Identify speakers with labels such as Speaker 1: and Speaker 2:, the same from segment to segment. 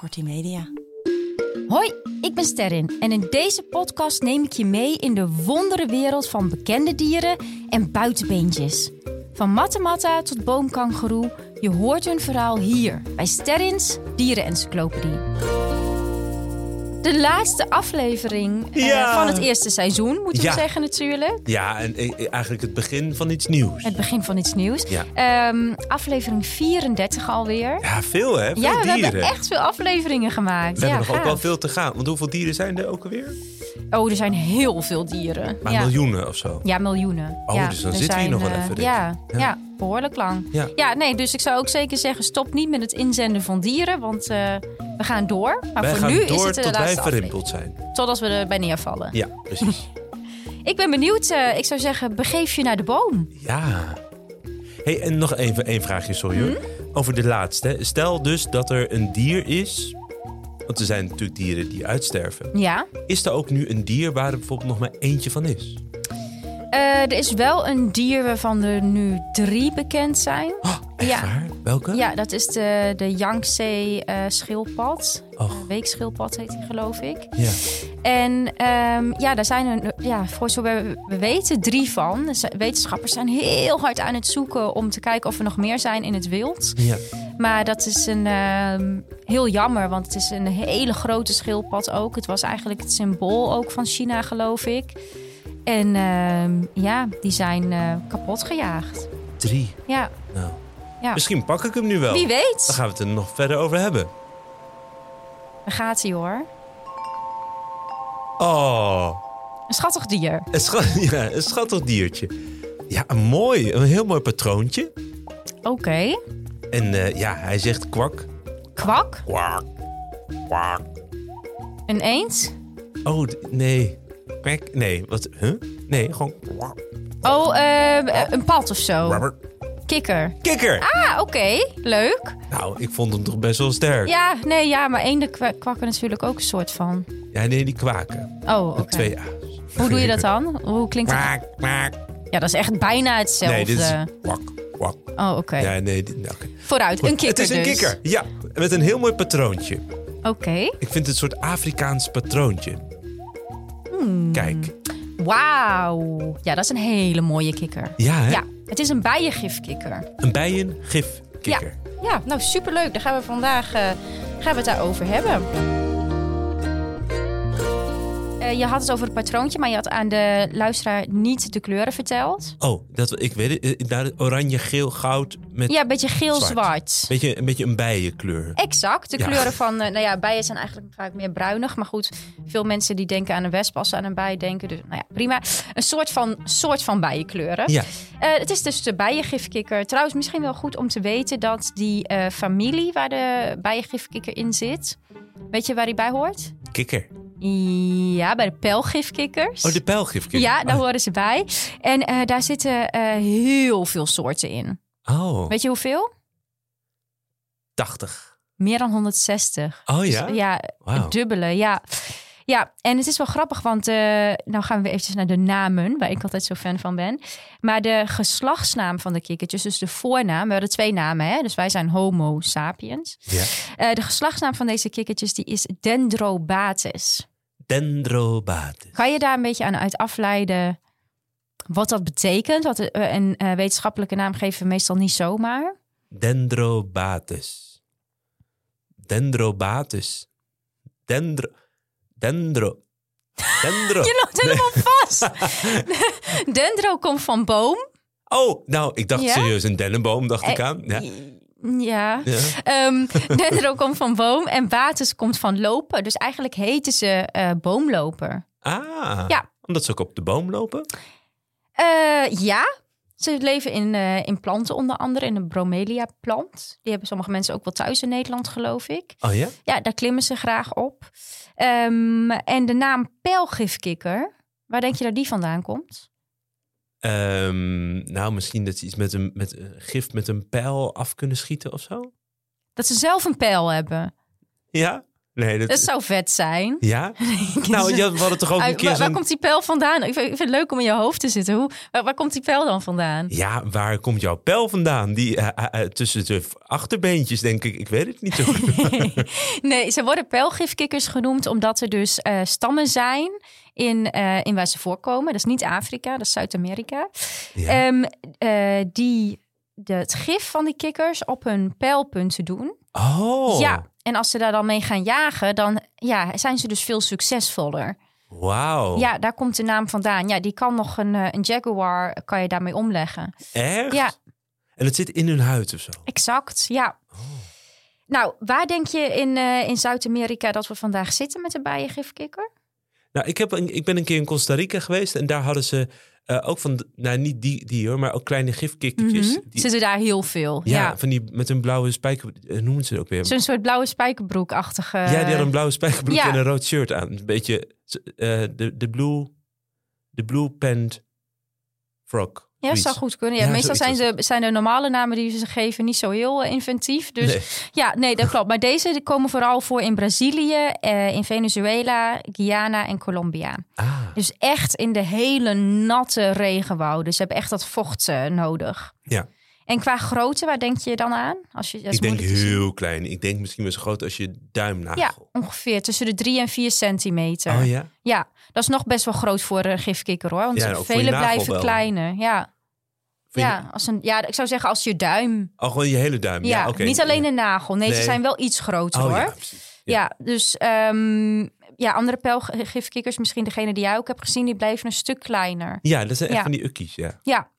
Speaker 1: Multimedia.
Speaker 2: Hoi, ik ben Sterrin en in deze podcast neem ik je mee in de wondere wereld van bekende dieren en buitenbeentjes. Van mattematta tot boomkangeroe, je hoort hun verhaal hier bij Sterrins Dierenencyclopedie. De laatste aflevering eh,
Speaker 3: Ja.
Speaker 2: van het eerste seizoen, moet ik
Speaker 3: Ja.
Speaker 2: zeggen natuurlijk.
Speaker 3: Ja, en eh, eh, eigenlijk het begin van iets nieuws.
Speaker 2: Het begin van iets nieuws.
Speaker 3: Ja.
Speaker 2: Ehm, aflevering 34 alweer.
Speaker 3: Ja, veel hè? Veel
Speaker 2: ja, we
Speaker 3: dieren.
Speaker 2: hebben echt veel afleveringen gemaakt.
Speaker 3: We hebben
Speaker 2: ja,
Speaker 3: nog ook wel
Speaker 2: gaaf.
Speaker 3: veel te gaan. Want hoeveel dieren zijn er ook alweer?
Speaker 2: Oh, er zijn heel veel dieren.
Speaker 3: Maar
Speaker 2: ja.
Speaker 3: miljoenen of zo.
Speaker 2: Ja, miljoenen.
Speaker 3: Oh,
Speaker 2: ja,
Speaker 3: dus dan
Speaker 2: er
Speaker 3: zitten we hier nog wel
Speaker 2: eh,
Speaker 3: even, denk
Speaker 2: Ja,
Speaker 3: ik.
Speaker 2: ja.
Speaker 3: Ja.
Speaker 2: behoorlijk lang.
Speaker 3: Ja.
Speaker 2: nee, dus ik zou ook zeker zeggen: stop niet met het inzenden van dieren, want eh, we gaan door. Maar
Speaker 3: wij
Speaker 2: voor
Speaker 3: gaan
Speaker 2: nu
Speaker 3: door
Speaker 2: is het de
Speaker 3: tot wij
Speaker 2: laatste aflevering.
Speaker 3: verrimpeld zijn.
Speaker 2: Totdat we erbij neervallen.
Speaker 3: Ja, precies.
Speaker 2: Ik ben benieuwd, eh, ik zou zeggen: begeef je naar de boom.
Speaker 3: ja. hey, en nog even één vraagje, sorry hoor.
Speaker 2: Mhm.
Speaker 3: Over de laatste. Stel dus dat er een dier is. Want er zijn natuurlijk dieren die uitsterven.
Speaker 2: Ja.
Speaker 3: Is er ook nu een dier waar er bijvoorbeeld nog maar eentje van is?
Speaker 2: Eh, er is wel een dier waarvan er nu drie bekend zijn.
Speaker 3: Oh, echt
Speaker 2: Ja.
Speaker 3: waar? Welke?
Speaker 2: Ja, dat is de, de Yangtze eh schildpad.
Speaker 3: Och,
Speaker 2: Weekschildpad heet die, geloof ik.
Speaker 3: ja.
Speaker 2: En ehm, ja, daar zijn er, ja, voor zover we weten, drie van. Dus Wetenschappers zijn heel hard aan het zoeken om te kijken of er nog meer zijn in het wild.
Speaker 3: ja.
Speaker 2: Maar dat is een, ehm, heel jammer, want het is een hele grote schildpad ook. Het was eigenlijk het symbool ook van China, geloof ik. En ehm, ja, die zijn eh, kapot gejaagd.
Speaker 3: Drie.
Speaker 2: Ja,
Speaker 3: Nou.
Speaker 2: Ja.
Speaker 3: Misschien pak ik hem nu wel.
Speaker 2: wie
Speaker 3: Dan
Speaker 2: weet.
Speaker 3: gaan Oh. we het er nog verder over hebben.
Speaker 2: Daar gaat hij hoor.
Speaker 3: Oh,
Speaker 2: Een schattig dier.
Speaker 3: een, scha- ja, een schattig diertje. Ja, een mooi. Een heel mooi patroontje.
Speaker 2: Oké.
Speaker 3: En eh, ja, hij zegt kwak.
Speaker 2: Kwak,
Speaker 3: Kwak. Kwak.
Speaker 2: een eend.
Speaker 3: Oh, d- nee. Kwak. Nee, wat? Huh? Nee, gewoon kwak.
Speaker 2: Oh, ehm, een pad of zo.
Speaker 3: Rubber.
Speaker 2: Kikker.
Speaker 3: Kikker.
Speaker 2: Ah, oké. Leuk.
Speaker 3: Nou, ik vond hem toch best wel sterk. Ja,
Speaker 2: Ja, nee, ja, maar eenden kwa- kwakken natuurlijk ook een soort van.
Speaker 3: nee, die kwaken.
Speaker 2: Oh, oké.
Speaker 3: Met twee A's.
Speaker 2: Hoe doe je dat dan? Hoe klinkt het?
Speaker 3: Kwak, kwak.
Speaker 2: Ja, dat is echt bijna hetzelfde.
Speaker 3: Nee, dit is kwak, kwak.
Speaker 2: Oh, eh, oké.
Speaker 3: Ja, nee, dit, nou, oké.
Speaker 2: Vooruit, een kikker
Speaker 3: Het is een
Speaker 2: dus.
Speaker 3: kikker, ja. Met een heel mooi patroontje.
Speaker 2: Oké.
Speaker 3: Ik vind het een soort Afrikaans patroontje.
Speaker 2: Hmm.
Speaker 3: Kijk.
Speaker 2: Wauw. Ja, dat is een hele mooie kikker.
Speaker 3: Ja, hè?
Speaker 2: Ja, het is een bijengifkikker.
Speaker 3: Een bijengifkikker.
Speaker 2: Ja, nou superleuk. Daar gaan we vandaag eh, gaan we het daarover hebben. Eh, je had het over het patroontje, maar je had aan de luisteraar niet de kleuren verteld.
Speaker 3: Oh, dat, ik weet het. eh, daar- Oranje, geel, goud. Met
Speaker 2: Ja, een beetje geel-zwart.
Speaker 3: beetje, een beetje een bijenkleur.
Speaker 2: Exact. De
Speaker 3: Ja.
Speaker 2: kleuren van, eh, nou ja, bijen zijn eigenlijk vaak meer bruinig. Maar goed, veel mensen die denken aan een wesp als ze aan een bij denken. Dus nou ja, prima. Een soort van, soort van bijenkleuren.
Speaker 3: Ja.
Speaker 2: Eh, het is dus de bijengifkikker. Trouwens, misschien wel goed om te weten dat die eh, familie waar de bijengifkikker in zit... Weet je waar die bij hoort?
Speaker 3: Kikker.
Speaker 2: Ja, bij de pijlgifkikkers.
Speaker 3: Oh, de pijlgifkikker.
Speaker 2: Ja, nou, daar
Speaker 3: Oh.
Speaker 2: horen ze bij. En eh, daar zitten eh, heel veel soorten in.
Speaker 3: Oh,
Speaker 2: Weet je hoeveel?
Speaker 3: 80.
Speaker 2: Meer dan 160.
Speaker 3: Oh
Speaker 2: Dus,
Speaker 3: ja?
Speaker 2: ja,
Speaker 3: Wauw.
Speaker 2: het dubbele, ja. Ja, en het is wel grappig, want eh, nou gaan we eventjes naar de namen, waar ik altijd zo fan van ben. Maar de geslachtsnaam van de kikkertjes, dus de voornaam, we hadden twee namen, hè? dus wij zijn Homo sapiens.
Speaker 3: Ja.
Speaker 2: Eh, de geslachtsnaam van deze kikkertjes die is Dendrobates.
Speaker 3: Dendrobates.
Speaker 2: Kan je daar een beetje aan uit afleiden wat dat betekent? Wat eh, een eh, wetenschappelijke naam geven we meestal niet zomaar.
Speaker 3: Dendrobates. Dendrobates. Dendro... Dendro... Dendro...
Speaker 2: Je loopt helemaal vast. Dendro komt van boom.
Speaker 3: Oh, nou, ik dacht
Speaker 2: Ja?
Speaker 3: serieus een dennenboom, dacht ik
Speaker 2: Eh,
Speaker 3: aan. Ja.
Speaker 2: Ja.
Speaker 3: ja.
Speaker 2: Ehm dendro komt van boom en bates komt van lopen. Dus eigenlijk heten ze eh, boomloper.
Speaker 3: Ah,
Speaker 2: Ja.
Speaker 3: omdat ze ook op de boom lopen?
Speaker 2: Eh, ja, ze leven in, eh, in planten onder andere, in de bromelia-plant. Die hebben sommige mensen ook wel thuis in Nederland, geloof ik.
Speaker 3: Oh ja?
Speaker 2: Ja, daar klimmen ze graag op. Ehm, en de naam pijlgifkikker, waar denk je dat die vandaan komt?
Speaker 3: Ehm, nou, misschien dat ze iets met een, met een gif met een pijl af kunnen schieten of zo?
Speaker 2: Dat ze zelf een pijl hebben.
Speaker 3: Ja? Nee, dat...
Speaker 2: Dat zou vet zijn.
Speaker 3: Ja? nou, ja, we hadden toch ook een
Speaker 2: Uit-
Speaker 3: keer
Speaker 2: waar, waar
Speaker 3: zo'n...
Speaker 2: komt die pijl vandaan? Ik vind, ik vind het leuk om in je hoofd te zitten. Hoe, waar, waar komt die pijl dan vandaan?
Speaker 3: Ja, waar komt jouw pijl vandaan? Die eh, eh, eh, tussen de achterbeentjes, denk ik. Ik weet het niet zo goed.
Speaker 2: Nee, ze worden pijlgifkikkers genoemd omdat er dus eh, stammen zijn in, eh, in waar ze voorkomen. Dat is niet Afrika, dat is Zuid-Amerika.
Speaker 3: Ja.
Speaker 2: Ehm, eh, die de, het gif van die kikkers op hun pijlpunten doen.
Speaker 3: oh,
Speaker 2: Eh, Ja, en als ze daar dan mee gaan jagen, dan ja, zijn ze dus veel succesvoller.
Speaker 3: wauw.
Speaker 2: Ja, daar komt de naam vandaan. Ja, die kan nog een, eh, een jaguar, eh, kan je daarmee omleggen.
Speaker 3: Echt?
Speaker 2: Ja.
Speaker 3: En het zit in hun huid of zo? Oh.
Speaker 2: Exact, ja. Nou, waar denk je in, eh, in Zuid-Amerika dat we vandaag zitten met de bijengifkikker?
Speaker 3: Nou, ik, heb een- ik ben een keer in Costa Rica geweest en daar hadden ze eh, ook van, de- nou niet die, die hoor, maar ook kleine gifkikkertjes.
Speaker 2: Mhm.
Speaker 3: Die-
Speaker 2: Zitten daar heel veel.
Speaker 3: ja,
Speaker 2: Ja.
Speaker 3: van die met een blauwe spijker, eh, noemen ze het ook weer.
Speaker 2: Zo'n soort blauwe spijkerbroekachtige.
Speaker 3: ja, die hadden een blauwe spijkerbroek
Speaker 2: eh, ja.
Speaker 3: en een rood shirt aan. Een beetje eh, de, de blue, de blue pant frog.
Speaker 2: Ja, dat zou
Speaker 3: zoiets.
Speaker 2: goed kunnen. Ja,
Speaker 3: Ja,
Speaker 2: meestal zijn
Speaker 3: zoiets
Speaker 2: de, zijn de normale namen die ze geven niet zo heel eh, inventief. Dus
Speaker 3: Nee.
Speaker 2: ja, nee, dat klopt. Maar deze die komen vooral voor in Brazilië, eh, in Venezuela, Guyana en Colombia.
Speaker 3: Ah,
Speaker 2: Dus echt in de hele natte regenwouden. Ze hebben echt dat vocht eh, nodig.
Speaker 3: Ja.
Speaker 2: En qua grootte, waar denk je dan aan? Als je, dat is
Speaker 3: ik denk
Speaker 2: moeilijk te zien.
Speaker 3: heel klein. Ik denk misschien wel zo groot als je
Speaker 2: Ja,
Speaker 3: duimnagel.
Speaker 2: ongeveer tussen de 3 en 4 centimeter.
Speaker 3: Oh
Speaker 2: ja.
Speaker 3: ja?
Speaker 2: dat is nog best wel groot voor een gifkikker hoor. Want
Speaker 3: Ja, ook voor je
Speaker 2: vele
Speaker 3: nagel
Speaker 2: blijven
Speaker 3: wel.
Speaker 2: kleiner. Ja.
Speaker 3: Vind je-
Speaker 2: Ja, als een, ja, ik zou zeggen als je duim.
Speaker 3: Oh, gewoon je hele duim. Ja,
Speaker 2: Ja,
Speaker 3: oké.
Speaker 2: niet alleen een nagel. Nee, ze
Speaker 3: Nee.
Speaker 2: zijn wel iets groter
Speaker 3: Oh
Speaker 2: hoor.
Speaker 3: ja,
Speaker 2: Ja,
Speaker 3: precies.
Speaker 2: dus ehm, ja, andere pijlgifkikkers, misschien degene die jij ook hebt gezien, die blijven een stuk kleiner.
Speaker 3: Ja, dat zijn echt
Speaker 2: Ja.
Speaker 3: van die ukkies, ja.
Speaker 2: Ja.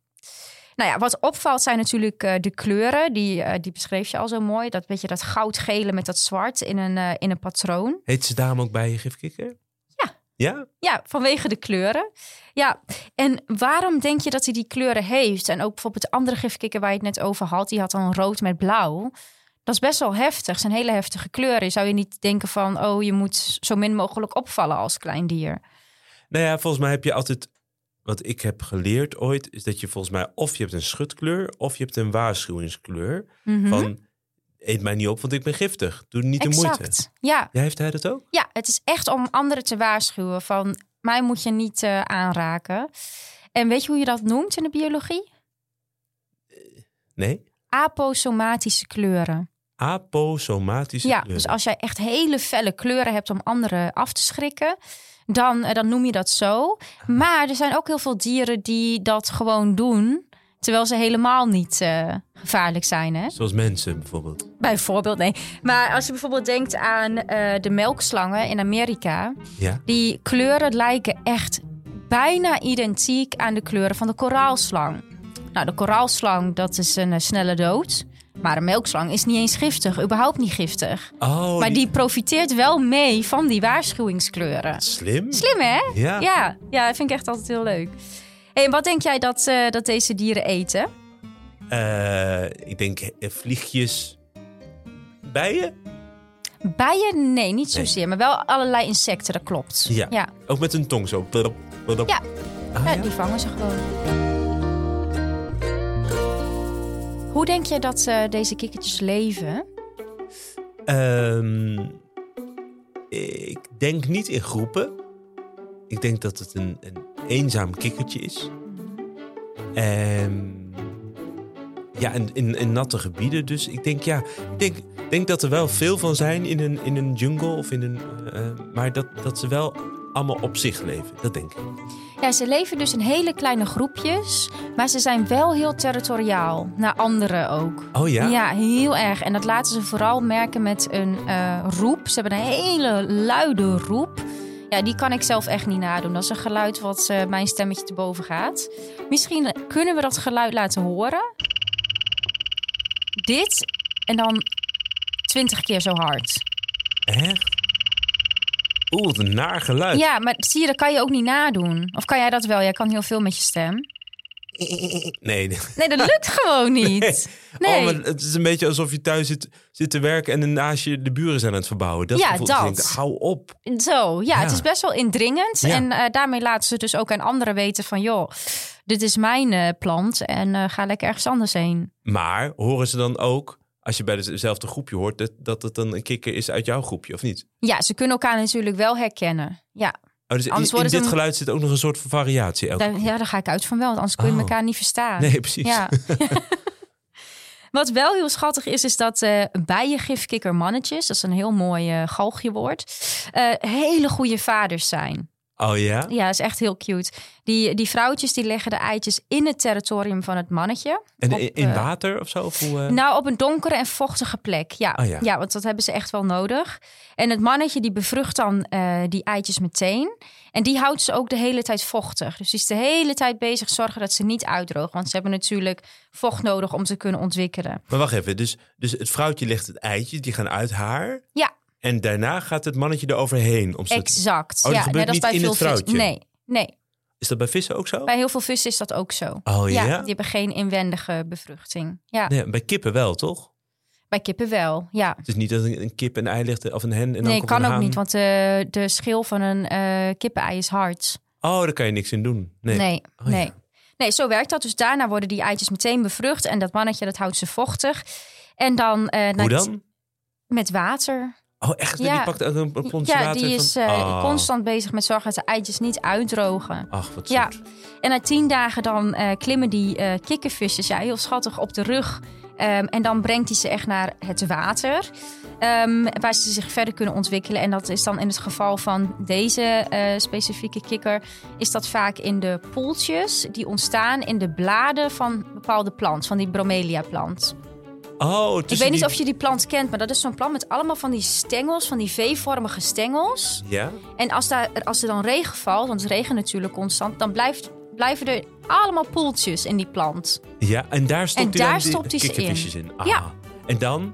Speaker 2: Nou ja, wat opvalt zijn natuurlijk eh, de kleuren. Die, eh, die beschreef je al zo mooi. Dat beetje dat goudgele met dat zwart in een, eh, in een patroon.
Speaker 3: Heet ze daarom ook bij je gifkikker?
Speaker 2: Ja.
Speaker 3: Ja?
Speaker 2: Ja, vanwege de kleuren. Ja, en waarom denk je dat hij die kleuren heeft? En ook bijvoorbeeld de andere gifkikker waar je het net over had, die had dan rood met blauw. Dat is best wel heftig. Zijn hele heftige kleuren. Je Zou je niet denken van, oh, je moet zo min mogelijk opvallen als klein dier?
Speaker 3: Nou ja, volgens mij heb je altijd... Wat ik heb geleerd ooit, is dat je volgens mij... of je hebt een schutkleur, of je hebt een waarschuwingskleur.
Speaker 2: Mhm.
Speaker 3: Van, eet mij niet op, want ik ben giftig. Doe niet de moeite.
Speaker 2: exact. Ja.
Speaker 3: Ja, heeft hij dat ook?
Speaker 2: ja, het is echt om anderen te waarschuwen van, mij moet je niet eh, aanraken. En weet je hoe je dat noemt in de biologie?
Speaker 3: Nee?
Speaker 2: Aposomatische kleuren.
Speaker 3: Aposomatische
Speaker 2: Ja,
Speaker 3: kleuren.
Speaker 2: dus als jij echt hele felle kleuren hebt om anderen af te schrikken, dan, eh, dan noem je dat zo. Maar er zijn ook heel veel dieren die dat gewoon doen, terwijl ze helemaal niet eh, gevaarlijk zijn. Hè?
Speaker 3: Zoals mensen bijvoorbeeld.
Speaker 2: Bijvoorbeeld, nee. Maar als je bijvoorbeeld denkt aan eh, de melkslangen in Amerika,
Speaker 3: Ja?
Speaker 2: die kleuren lijken echt bijna identiek aan de kleuren van de koraalslang. Nou, de koraalslang, dat is een eh, snelle dood. Maar een melkslang is niet eens giftig, überhaupt niet giftig.
Speaker 3: Oh,
Speaker 2: Maar die profiteert wel mee van die waarschuwingskleuren.
Speaker 3: Slim?
Speaker 2: Slim, hè?
Speaker 3: Ja.
Speaker 2: Ja, ja, dat vind ik echt altijd heel leuk. Hey, en wat denk jij dat, eh, dat deze dieren eten?
Speaker 3: Eh, ik denk eh, vliegjes... Bijen?
Speaker 2: Bijen? Nee, niet
Speaker 3: Nee.
Speaker 2: zozeer. Maar wel allerlei insecten, dat klopt.
Speaker 3: Ja.
Speaker 2: Ja,
Speaker 3: Ook met hun tong zo. Blub, blub.
Speaker 2: Ja. Eh,
Speaker 3: Ah,
Speaker 2: ja,
Speaker 3: ja?
Speaker 2: die vangen ze gewoon. Hoe denk jij dat eh, deze kikkertjes leven?
Speaker 3: Ehm, ik denk niet in groepen. Ik denk dat het een, een eenzaam kikkertje is. Ehm, ja, in, in, in natte gebieden. Dus ik denk, ja, ik denk, ik denk dat er wel veel van zijn in een, in een jungle of in een. eh, maar dat, dat ze wel allemaal op zich leven. Dat denk ik.
Speaker 2: Ja, ze leven dus in hele kleine groepjes, maar ze zijn wel heel territoriaal. Naar anderen ook.
Speaker 3: Oh ja?
Speaker 2: Ja? heel erg. En dat laten ze vooral merken met een eh, roep. Ze hebben een hele luide roep. Ja, die kan ik zelf echt niet nadoen. Dat is een geluid wat eh, mijn stemmetje te boven gaat. Misschien kunnen we dat geluid laten horen. Dit en dan twintig keer zo hard.
Speaker 3: Echt? Oeh, wat een naar geluid.
Speaker 2: Ja, maar zie je, dat kan je ook niet nadoen. Of kan jij dat wel? Jij kan heel veel met je stem.
Speaker 3: Nee, nee.
Speaker 2: Nee, dat lukt gewoon niet. Nee.
Speaker 3: Oh, maar het is een beetje alsof je thuis zit, zit te werken en naast je de buren zijn aan het verbouwen. Dat
Speaker 2: Ja,
Speaker 3: gevoel. Dus je
Speaker 2: dat.
Speaker 3: denkt, hou op.
Speaker 2: Zo, ja,
Speaker 3: Ja.
Speaker 2: het is best wel indringend.
Speaker 3: Ja.
Speaker 2: En eh, daarmee laten ze dus ook aan anderen weten van... joh, dit is mijn eh, plant en eh, ga lekker ergens anders heen.
Speaker 3: Maar horen ze dan ook, als je bij dezelfde groepje hoort, dat, dat het dan een kikker is uit jouw groepje, of niet?
Speaker 2: Ja, ze kunnen elkaar natuurlijk wel herkennen. Ja,
Speaker 3: Oh, dus in,
Speaker 2: Anders
Speaker 3: in
Speaker 2: worden
Speaker 3: dit
Speaker 2: ze een-
Speaker 3: geluid zit ook nog een soort van variatie. Elke...
Speaker 2: daar, ja, daar ga ik uit van wel, want anders kun je
Speaker 3: Oh.
Speaker 2: elkaar niet verstaan.
Speaker 3: Nee, precies.
Speaker 2: Ja. Wat wel heel schattig is, is dat eh bijengifkikkermannetjes, dat is een heel mooi eh, galgjewoord, eh, hele goede vaders zijn.
Speaker 3: Oh ja?
Speaker 2: Ja, is echt heel cute. Die, die vrouwtjes die leggen de eitjes in het territorium van het mannetje.
Speaker 3: En
Speaker 2: Op,
Speaker 3: in, in
Speaker 2: eh,
Speaker 3: water of zo? Of hoe, eh?
Speaker 2: Nou, op een donkere en vochtige plek. Ja.
Speaker 3: Ah, ja.
Speaker 2: want dat hebben ze echt wel nodig. En het mannetje die bevrucht dan eh, die eitjes meteen. En die houdt ze ook de hele tijd vochtig. Dus die is de hele tijd bezig zorgen dat ze niet uitdrogen. Want ze hebben natuurlijk vocht nodig om te kunnen ontwikkelen.
Speaker 3: Maar wacht even, dus, dus het vrouwtje legt het eitje, die gaan uit haar.
Speaker 2: Ja.
Speaker 3: En daarna gaat het mannetje eroverheen. Om ze-
Speaker 2: Exact.
Speaker 3: Oh, dat
Speaker 2: ja,
Speaker 3: gebeurt
Speaker 2: net als
Speaker 3: niet
Speaker 2: bij
Speaker 3: in
Speaker 2: veel
Speaker 3: het
Speaker 2: vis-
Speaker 3: vrouwtje?
Speaker 2: Nee, nee.
Speaker 3: Is dat bij vissen ook zo?
Speaker 2: Bij heel veel vissen is dat ook zo.
Speaker 3: Oh ja?
Speaker 2: die hebben geen inwendige bevruchting. Ja,
Speaker 3: Nee, bij kippen wel, toch?
Speaker 2: bij kippen wel. Ja.
Speaker 3: Het is niet dat een, een kip een ei legt of een hen en dan
Speaker 2: nee,
Speaker 3: komt
Speaker 2: kan
Speaker 3: een
Speaker 2: ook
Speaker 3: haan.
Speaker 2: niet, want eh, de schil van een eh kippenei is hard.
Speaker 3: Oh, daar kan je niks in doen. Nee.
Speaker 2: Nee, nee.
Speaker 3: Oh,
Speaker 2: nee.
Speaker 3: ja.
Speaker 2: zo werkt dat. Dus daarna worden die eitjes meteen bevrucht en dat mannetje dat houdt ze vochtig. En dan, eh,
Speaker 3: Hoe
Speaker 2: na-
Speaker 3: dan?
Speaker 2: met water.
Speaker 3: Oh, echt?
Speaker 2: Ja.
Speaker 3: Die pakt ook een, een plonsje
Speaker 2: Ja,
Speaker 3: water
Speaker 2: die
Speaker 3: van-
Speaker 2: is eh,
Speaker 3: Oh.
Speaker 2: constant bezig met zorgen dat de eitjes niet uitdrogen.
Speaker 3: Ach, wat
Speaker 2: Ja.
Speaker 3: zoet.
Speaker 2: En na tien dagen dan eh, klimmen die eh kikkervisjes, ja, heel schattig, op de rug. Ehm, en dan brengt hij ze echt naar het water, ehm, waar ze zich verder kunnen ontwikkelen. En dat is dan in het geval van deze eh, specifieke kikker, is dat vaak in de poeltjes die ontstaan in de bladen van bepaalde plant, van die bromelia-plant.
Speaker 3: Oh,
Speaker 2: Ik
Speaker 3: tussen
Speaker 2: weet niet
Speaker 3: die-
Speaker 2: of je die plant kent, maar dat is zo'n plant met allemaal van die stengels, van die V-vormige stengels.
Speaker 3: Ja?
Speaker 2: En als, daar, als er dan regen valt, want het regent natuurlijk constant, dan blijft, blijven er allemaal poeltjes in die plant.
Speaker 3: Ja, en daar stopt
Speaker 2: En
Speaker 3: hij
Speaker 2: daar
Speaker 3: dan
Speaker 2: stopt
Speaker 3: die
Speaker 2: hij ze in.
Speaker 3: kikkervisjes in. Ah.
Speaker 2: Ja.
Speaker 3: En dan?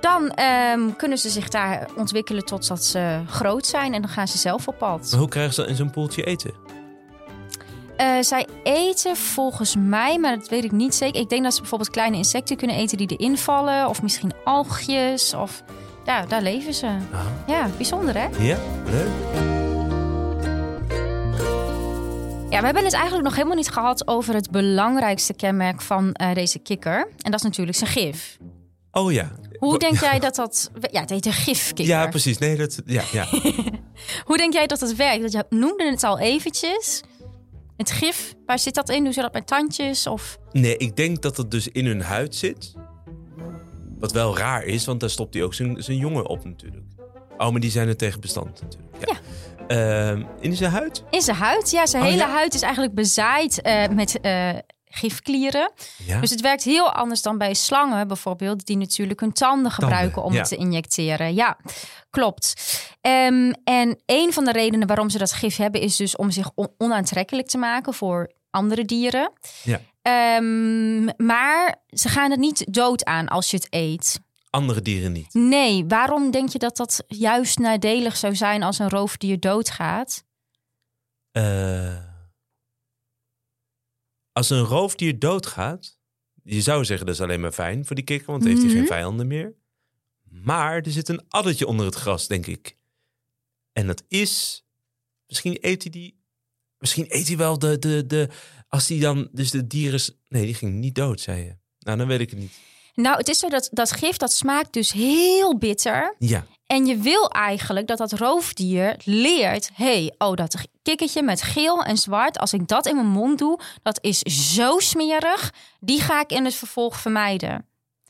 Speaker 2: Dan ehm, kunnen ze zich daar ontwikkelen totdat ze groot zijn en dan gaan ze zelf op pad.
Speaker 3: Maar hoe krijgen ze dan in zo'n poeltje eten?
Speaker 2: Eh, zij eten volgens mij, maar dat weet ik niet zeker. Ik denk dat ze bijvoorbeeld kleine insecten kunnen eten die erin vallen, of misschien algjes. Of... Ja, daar leven ze.
Speaker 3: Ah.
Speaker 2: Ja, bijzonder hè?
Speaker 3: Ja, leuk.
Speaker 2: Ja, we hebben het eigenlijk nog helemaal niet gehad over het belangrijkste kenmerk van eh, deze kikker. En dat is natuurlijk zijn gif.
Speaker 3: Oh ja.
Speaker 2: Hoe denk jij dat dat... Ja, het heet een gifkikker.
Speaker 3: Ja, precies. Nee, dat, ja, ja.
Speaker 2: Hoe denk jij dat het werkt? Want je noemde het al eventjes. Het gif, waar zit dat in? Doen ze dat met tandjes? Of...
Speaker 3: nee, ik denk dat het dus in hun huid zit. Wat wel raar is, want daar stopt hij ook zijn, zijn jongen op natuurlijk. Oh, maar die zijn er tegen bestand natuurlijk. Ja. Ehm, in zijn huid?
Speaker 2: In zijn huid. Ja, zijn
Speaker 3: Oh,
Speaker 2: hele
Speaker 3: ja.
Speaker 2: huid is eigenlijk bezaaid eh, met eh, gifklieren.
Speaker 3: Ja.
Speaker 2: Dus het werkt heel anders dan bij slangen bijvoorbeeld, die natuurlijk hun tanden gebruiken om
Speaker 3: ja.
Speaker 2: het te injecteren. Ja, klopt. Ehm, en een van de redenen waarom ze dat gif hebben, is dus om zich on- onaantrekkelijk te maken voor andere dieren.
Speaker 3: Ja.
Speaker 2: Ehm, maar ze gaan het niet dood aan als je het eet.
Speaker 3: Andere dieren niet.
Speaker 2: Nee, waarom denk je dat dat juist nadelig zou zijn als een roofdier doodgaat?
Speaker 3: Eh, als een roofdier doodgaat, je zou zeggen dat is alleen maar fijn voor die kikker, want heeft hij
Speaker 2: Mhm.
Speaker 3: geen vijanden meer. Maar er zit een addertje onder het gras, denk ik. En dat is, misschien eet hij die, misschien eet hij wel de, de, de, als hij dan, dus de dieren, s- nee, die ging niet dood, zei je. Nou, dan weet ik het niet.
Speaker 2: Nou, het is zo dat dat gif dat smaakt dus heel bitter.
Speaker 3: Ja,
Speaker 2: En je wil eigenlijk dat dat roofdier leert: hey, oh, dat g- kikkertje met geel en zwart, als ik dat in mijn mond doe, dat is zo smerig. Die ga ik in het vervolg vermijden.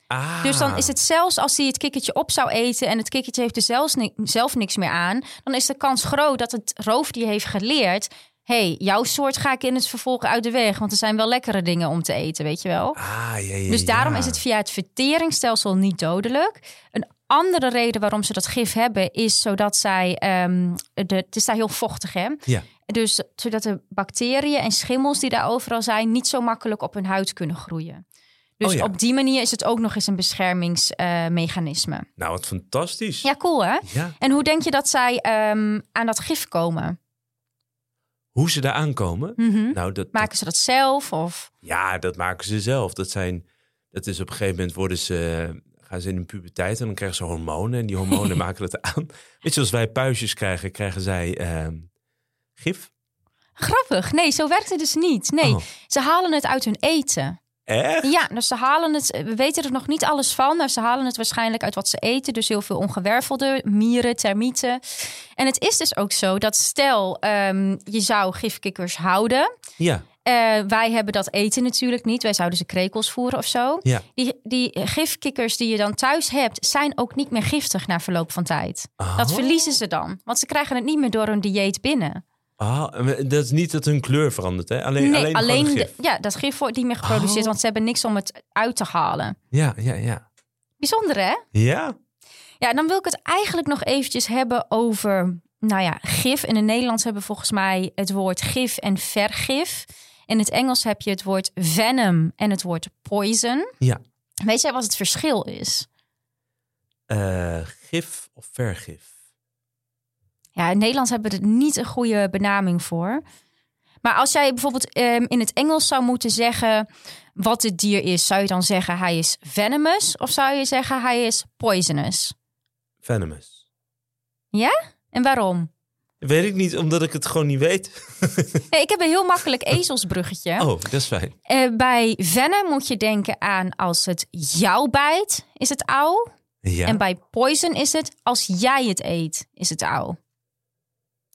Speaker 3: ah.
Speaker 2: Dus dan is het zelfs als hij het kikkertje op zou eten en het kikkertje heeft er zelfs ni- zelf niks meer aan, dan is de kans groot dat het roofdier heeft geleerd: hey, jouw soort ga ik in het vervolg uit de weg, want er zijn wel lekkere dingen om te eten, weet je wel.
Speaker 3: Ah, ja, ja,
Speaker 2: Dus daarom
Speaker 3: ja.
Speaker 2: is het via het verteringsstelsel niet dodelijk. Een andere reden waarom ze dat gif hebben is zodat zij. ehm, de, het is daar heel vochtig, hè?
Speaker 3: Ja.
Speaker 2: Dus zodat de bacteriën en schimmels die daar overal zijn. niet zo makkelijk op hun huid kunnen groeien. Dus
Speaker 3: Oh ja.
Speaker 2: op die manier is het ook nog eens een beschermingsmechanisme.
Speaker 3: Nou, wat fantastisch.
Speaker 2: ja, cool hè?
Speaker 3: ja.
Speaker 2: En hoe denk je dat zij ehm, aan dat gif komen?
Speaker 3: Hoe ze daar aankomen,
Speaker 2: Mhm.
Speaker 3: nou, dat,
Speaker 2: Maken ze dat zelf? Of...
Speaker 3: Ja, dat maken ze zelf. Dat zijn, dat is op een gegeven moment worden ze, gaan ze in hun puberteit en dan krijgen ze hormonen. En die hormonen maken dat aan. Weet je, als wij puistjes krijgen, krijgen zij ehm, gif.
Speaker 2: Grappig. Nee, zo werkt het dus niet. Nee,
Speaker 3: Oh.
Speaker 2: ze halen het uit hun eten.
Speaker 3: Echt?
Speaker 2: Ja, dus ze halen het. We weten er nog niet alles van. Maar ze halen het waarschijnlijk uit wat ze eten. Dus heel veel ongewervelde mieren, termieten. En het is dus ook zo dat stel ehm, je zou gifkikkers houden.
Speaker 3: Ja.
Speaker 2: Eh, wij hebben dat eten natuurlijk niet. Wij zouden ze krekels voeren of zo.
Speaker 3: Ja.
Speaker 2: Die, die gifkikkers die je dan thuis hebt, zijn ook niet meer giftig na verloop van tijd. Dat
Speaker 3: Oh.
Speaker 2: verliezen ze dan. Want ze krijgen het niet meer door hun dieet binnen.
Speaker 3: Ah, maar dat is niet dat hun kleur verandert, hè? Alleen,
Speaker 2: nee,
Speaker 3: alleen,
Speaker 2: alleen
Speaker 3: gewoon het
Speaker 2: de-
Speaker 3: gif.
Speaker 2: ja, dat gif wordt niet meer geproduceerd.
Speaker 3: Oh.
Speaker 2: Want ze hebben niks om het uit te halen.
Speaker 3: Ja, ja, ja.
Speaker 2: Bijzonder hè?
Speaker 3: Ja?
Speaker 2: Ja, en dan wil ik het eigenlijk nog eventjes hebben over, nou ja, gif. In het Nederlands hebben we volgens mij het woord gif en vergif. In het Engels heb je het woord venom en het woord poison.
Speaker 3: Ja.
Speaker 2: Weet jij wat het verschil is?
Speaker 3: Eh, gif of vergif?
Speaker 2: Ja, in het Nederlands hebben we er niet een goede benaming voor. Maar als jij bijvoorbeeld ehm, in het Engels zou moeten zeggen wat het dier is, zou je dan zeggen hij is venomous of zou je zeggen hij is poisonous?
Speaker 3: Venomous.
Speaker 2: En waarom?
Speaker 3: Weet ik niet, omdat ik het gewoon niet weet.
Speaker 2: Nee, ik heb een heel makkelijk ezelsbruggetje.
Speaker 3: Oh, dat is fijn.
Speaker 2: Eh, bij venom moet je denken aan als het jou bijt, is het auw.
Speaker 3: Ja.
Speaker 2: En bij poison is het als jij het eet, is het auw.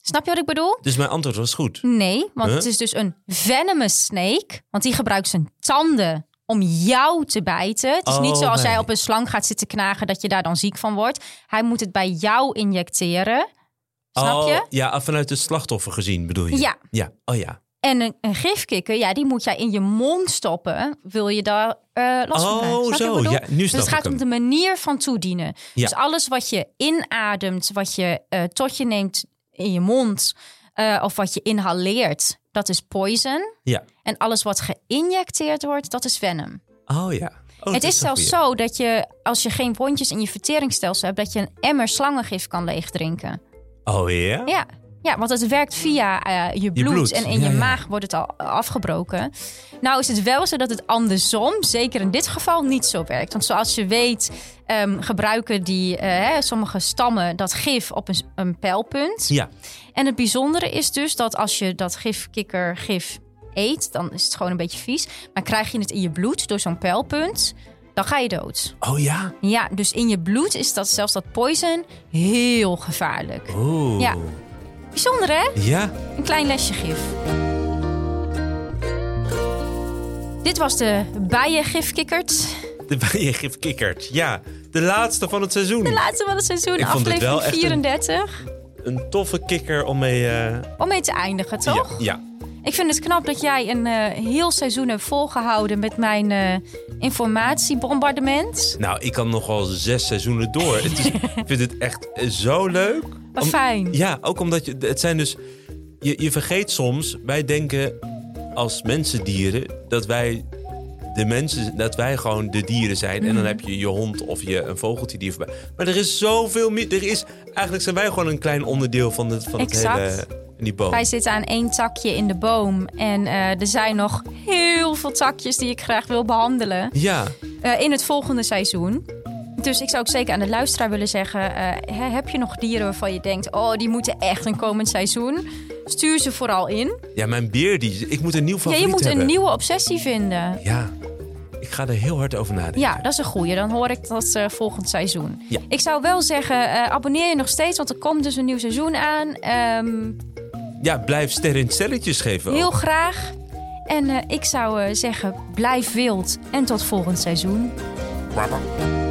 Speaker 2: Snap je wat ik bedoel?
Speaker 3: Dus mijn antwoord was goed.
Speaker 2: Nee, want
Speaker 3: Huh?
Speaker 2: het is dus een venomous snake. Want die gebruikt zijn tanden om jou te bijten. Het is
Speaker 3: Oh,
Speaker 2: niet zoals
Speaker 3: nee.
Speaker 2: jij op een slang gaat zitten knagen dat je daar dan ziek van wordt. Hij moet het bij jou injecteren. Snap
Speaker 3: Oh,
Speaker 2: je?
Speaker 3: Ja, vanuit het slachtoffer gezien bedoel je?
Speaker 2: Ja.
Speaker 3: Ja, oh ja.
Speaker 2: En een, een gifkikker, ja, die moet jij in je mond stoppen. Wil je daar eh last van krijgen? Snap
Speaker 3: Oh,
Speaker 2: je wat ik
Speaker 3: zo.
Speaker 2: bedoel?
Speaker 3: Ja, nu
Speaker 2: Dus
Speaker 3: snap
Speaker 2: het
Speaker 3: ik
Speaker 2: gaat
Speaker 3: hem.
Speaker 2: om de manier van toedienen.
Speaker 3: Ja.
Speaker 2: Dus alles wat je inademt, wat je eh, tot je neemt in je mond eh, of wat je inhaleert, dat is poison.
Speaker 3: Ja.
Speaker 2: En alles wat geïnjecteerd wordt, dat is venom.
Speaker 3: Oh ja. Oh, dat
Speaker 2: het is
Speaker 3: een
Speaker 2: zelfs
Speaker 3: goeie.
Speaker 2: zo dat je, als je geen wondjes in je verteringsstelsel hebt, dat je een emmer slangengif kan leegdrinken.
Speaker 3: Oh ja?
Speaker 2: Ja. ja, want het werkt via eh, je, bloed,
Speaker 3: bloed,
Speaker 2: en in
Speaker 3: ja,
Speaker 2: je
Speaker 3: ja.
Speaker 2: maag wordt het al afgebroken. Nou is het wel zo dat het andersom, zeker in dit geval, niet zo werkt. Want zoals je weet ehm, gebruiken die, eh, hè, sommige stammen dat gif op een, s- een pijlpunt.
Speaker 3: Ja.
Speaker 2: En het bijzondere is dus dat als je dat gifkikkergif eet, dan is het gewoon een beetje vies. Maar krijg je het in je bloed door zo'n pijlpunt, dan ga je dood.
Speaker 3: Oh ja?
Speaker 2: Ja, dus in je bloed is dat zelfs dat poison heel gevaarlijk.
Speaker 3: Oeh.
Speaker 2: Ja. Bijzonder hè?
Speaker 3: Ja?
Speaker 2: Een klein lesje gif. Dit was de bijengifkikkert.
Speaker 3: De bijengifkikkert. Ja. De laatste van het seizoen.
Speaker 2: Laatste van het seizoen,
Speaker 3: Ik vond dit wel
Speaker 2: aflevering
Speaker 3: echt een-
Speaker 2: 34.
Speaker 3: Een toffe kikker om mee... eh,
Speaker 2: Om mee te eindigen, toch?
Speaker 3: Ja. ja.
Speaker 2: Ik vind het knap dat jij een eh, heel seizoen hebt volgehouden met mijn eh, informatiebombardement.
Speaker 3: Nou, ik kan nog wel zes seizoenen door. Het is, ik vind het echt eh, zo leuk.
Speaker 2: Maar
Speaker 3: Om-
Speaker 2: fijn.
Speaker 3: Ja, ook omdat je, het zijn dus. Je, je vergeet soms, wij denken als mensendieren dat wij de mensen, dat wij gewoon de dieren zijn.
Speaker 2: Mhm.
Speaker 3: En dan heb je je hond of je een vogeltje die voorbij. Maar er is zoveel meer. Er is, eigenlijk zijn wij gewoon een klein onderdeel van het, van het
Speaker 2: Exact.
Speaker 3: hele. Die boom.
Speaker 2: Wij zitten aan één takje in de boom. En eh, er zijn nog heel veel takjes die ik graag wil behandelen.
Speaker 3: Ja,
Speaker 2: Eh, in het volgende seizoen. Dus ik zou ook zeker aan de luisteraar willen zeggen: eh, hè, heb je nog dieren waarvan je denkt, oh, die moeten echt een komend seizoen? Stuur ze vooral in.
Speaker 3: ja, mijn beer, die, ik moet een nieuw
Speaker 2: Ja,
Speaker 3: favoriet
Speaker 2: je moet
Speaker 3: hebben.
Speaker 2: een nieuwe obsessie vinden.
Speaker 3: Ja, ik ga er heel hard over nadenken.
Speaker 2: Ja, dat is een goeie. Dan hoor ik dat eh, volgend seizoen.
Speaker 3: Ja.
Speaker 2: Ik zou wel zeggen, eh, abonneer je nog steeds, want er komt dus een nieuw seizoen aan. Ehm,
Speaker 3: Ja, blijf sterren in stelletjes geven. ook.
Speaker 2: heel graag. En eh, ik zou eh, zeggen, blijf wild en tot volgend seizoen.
Speaker 3: Wapper.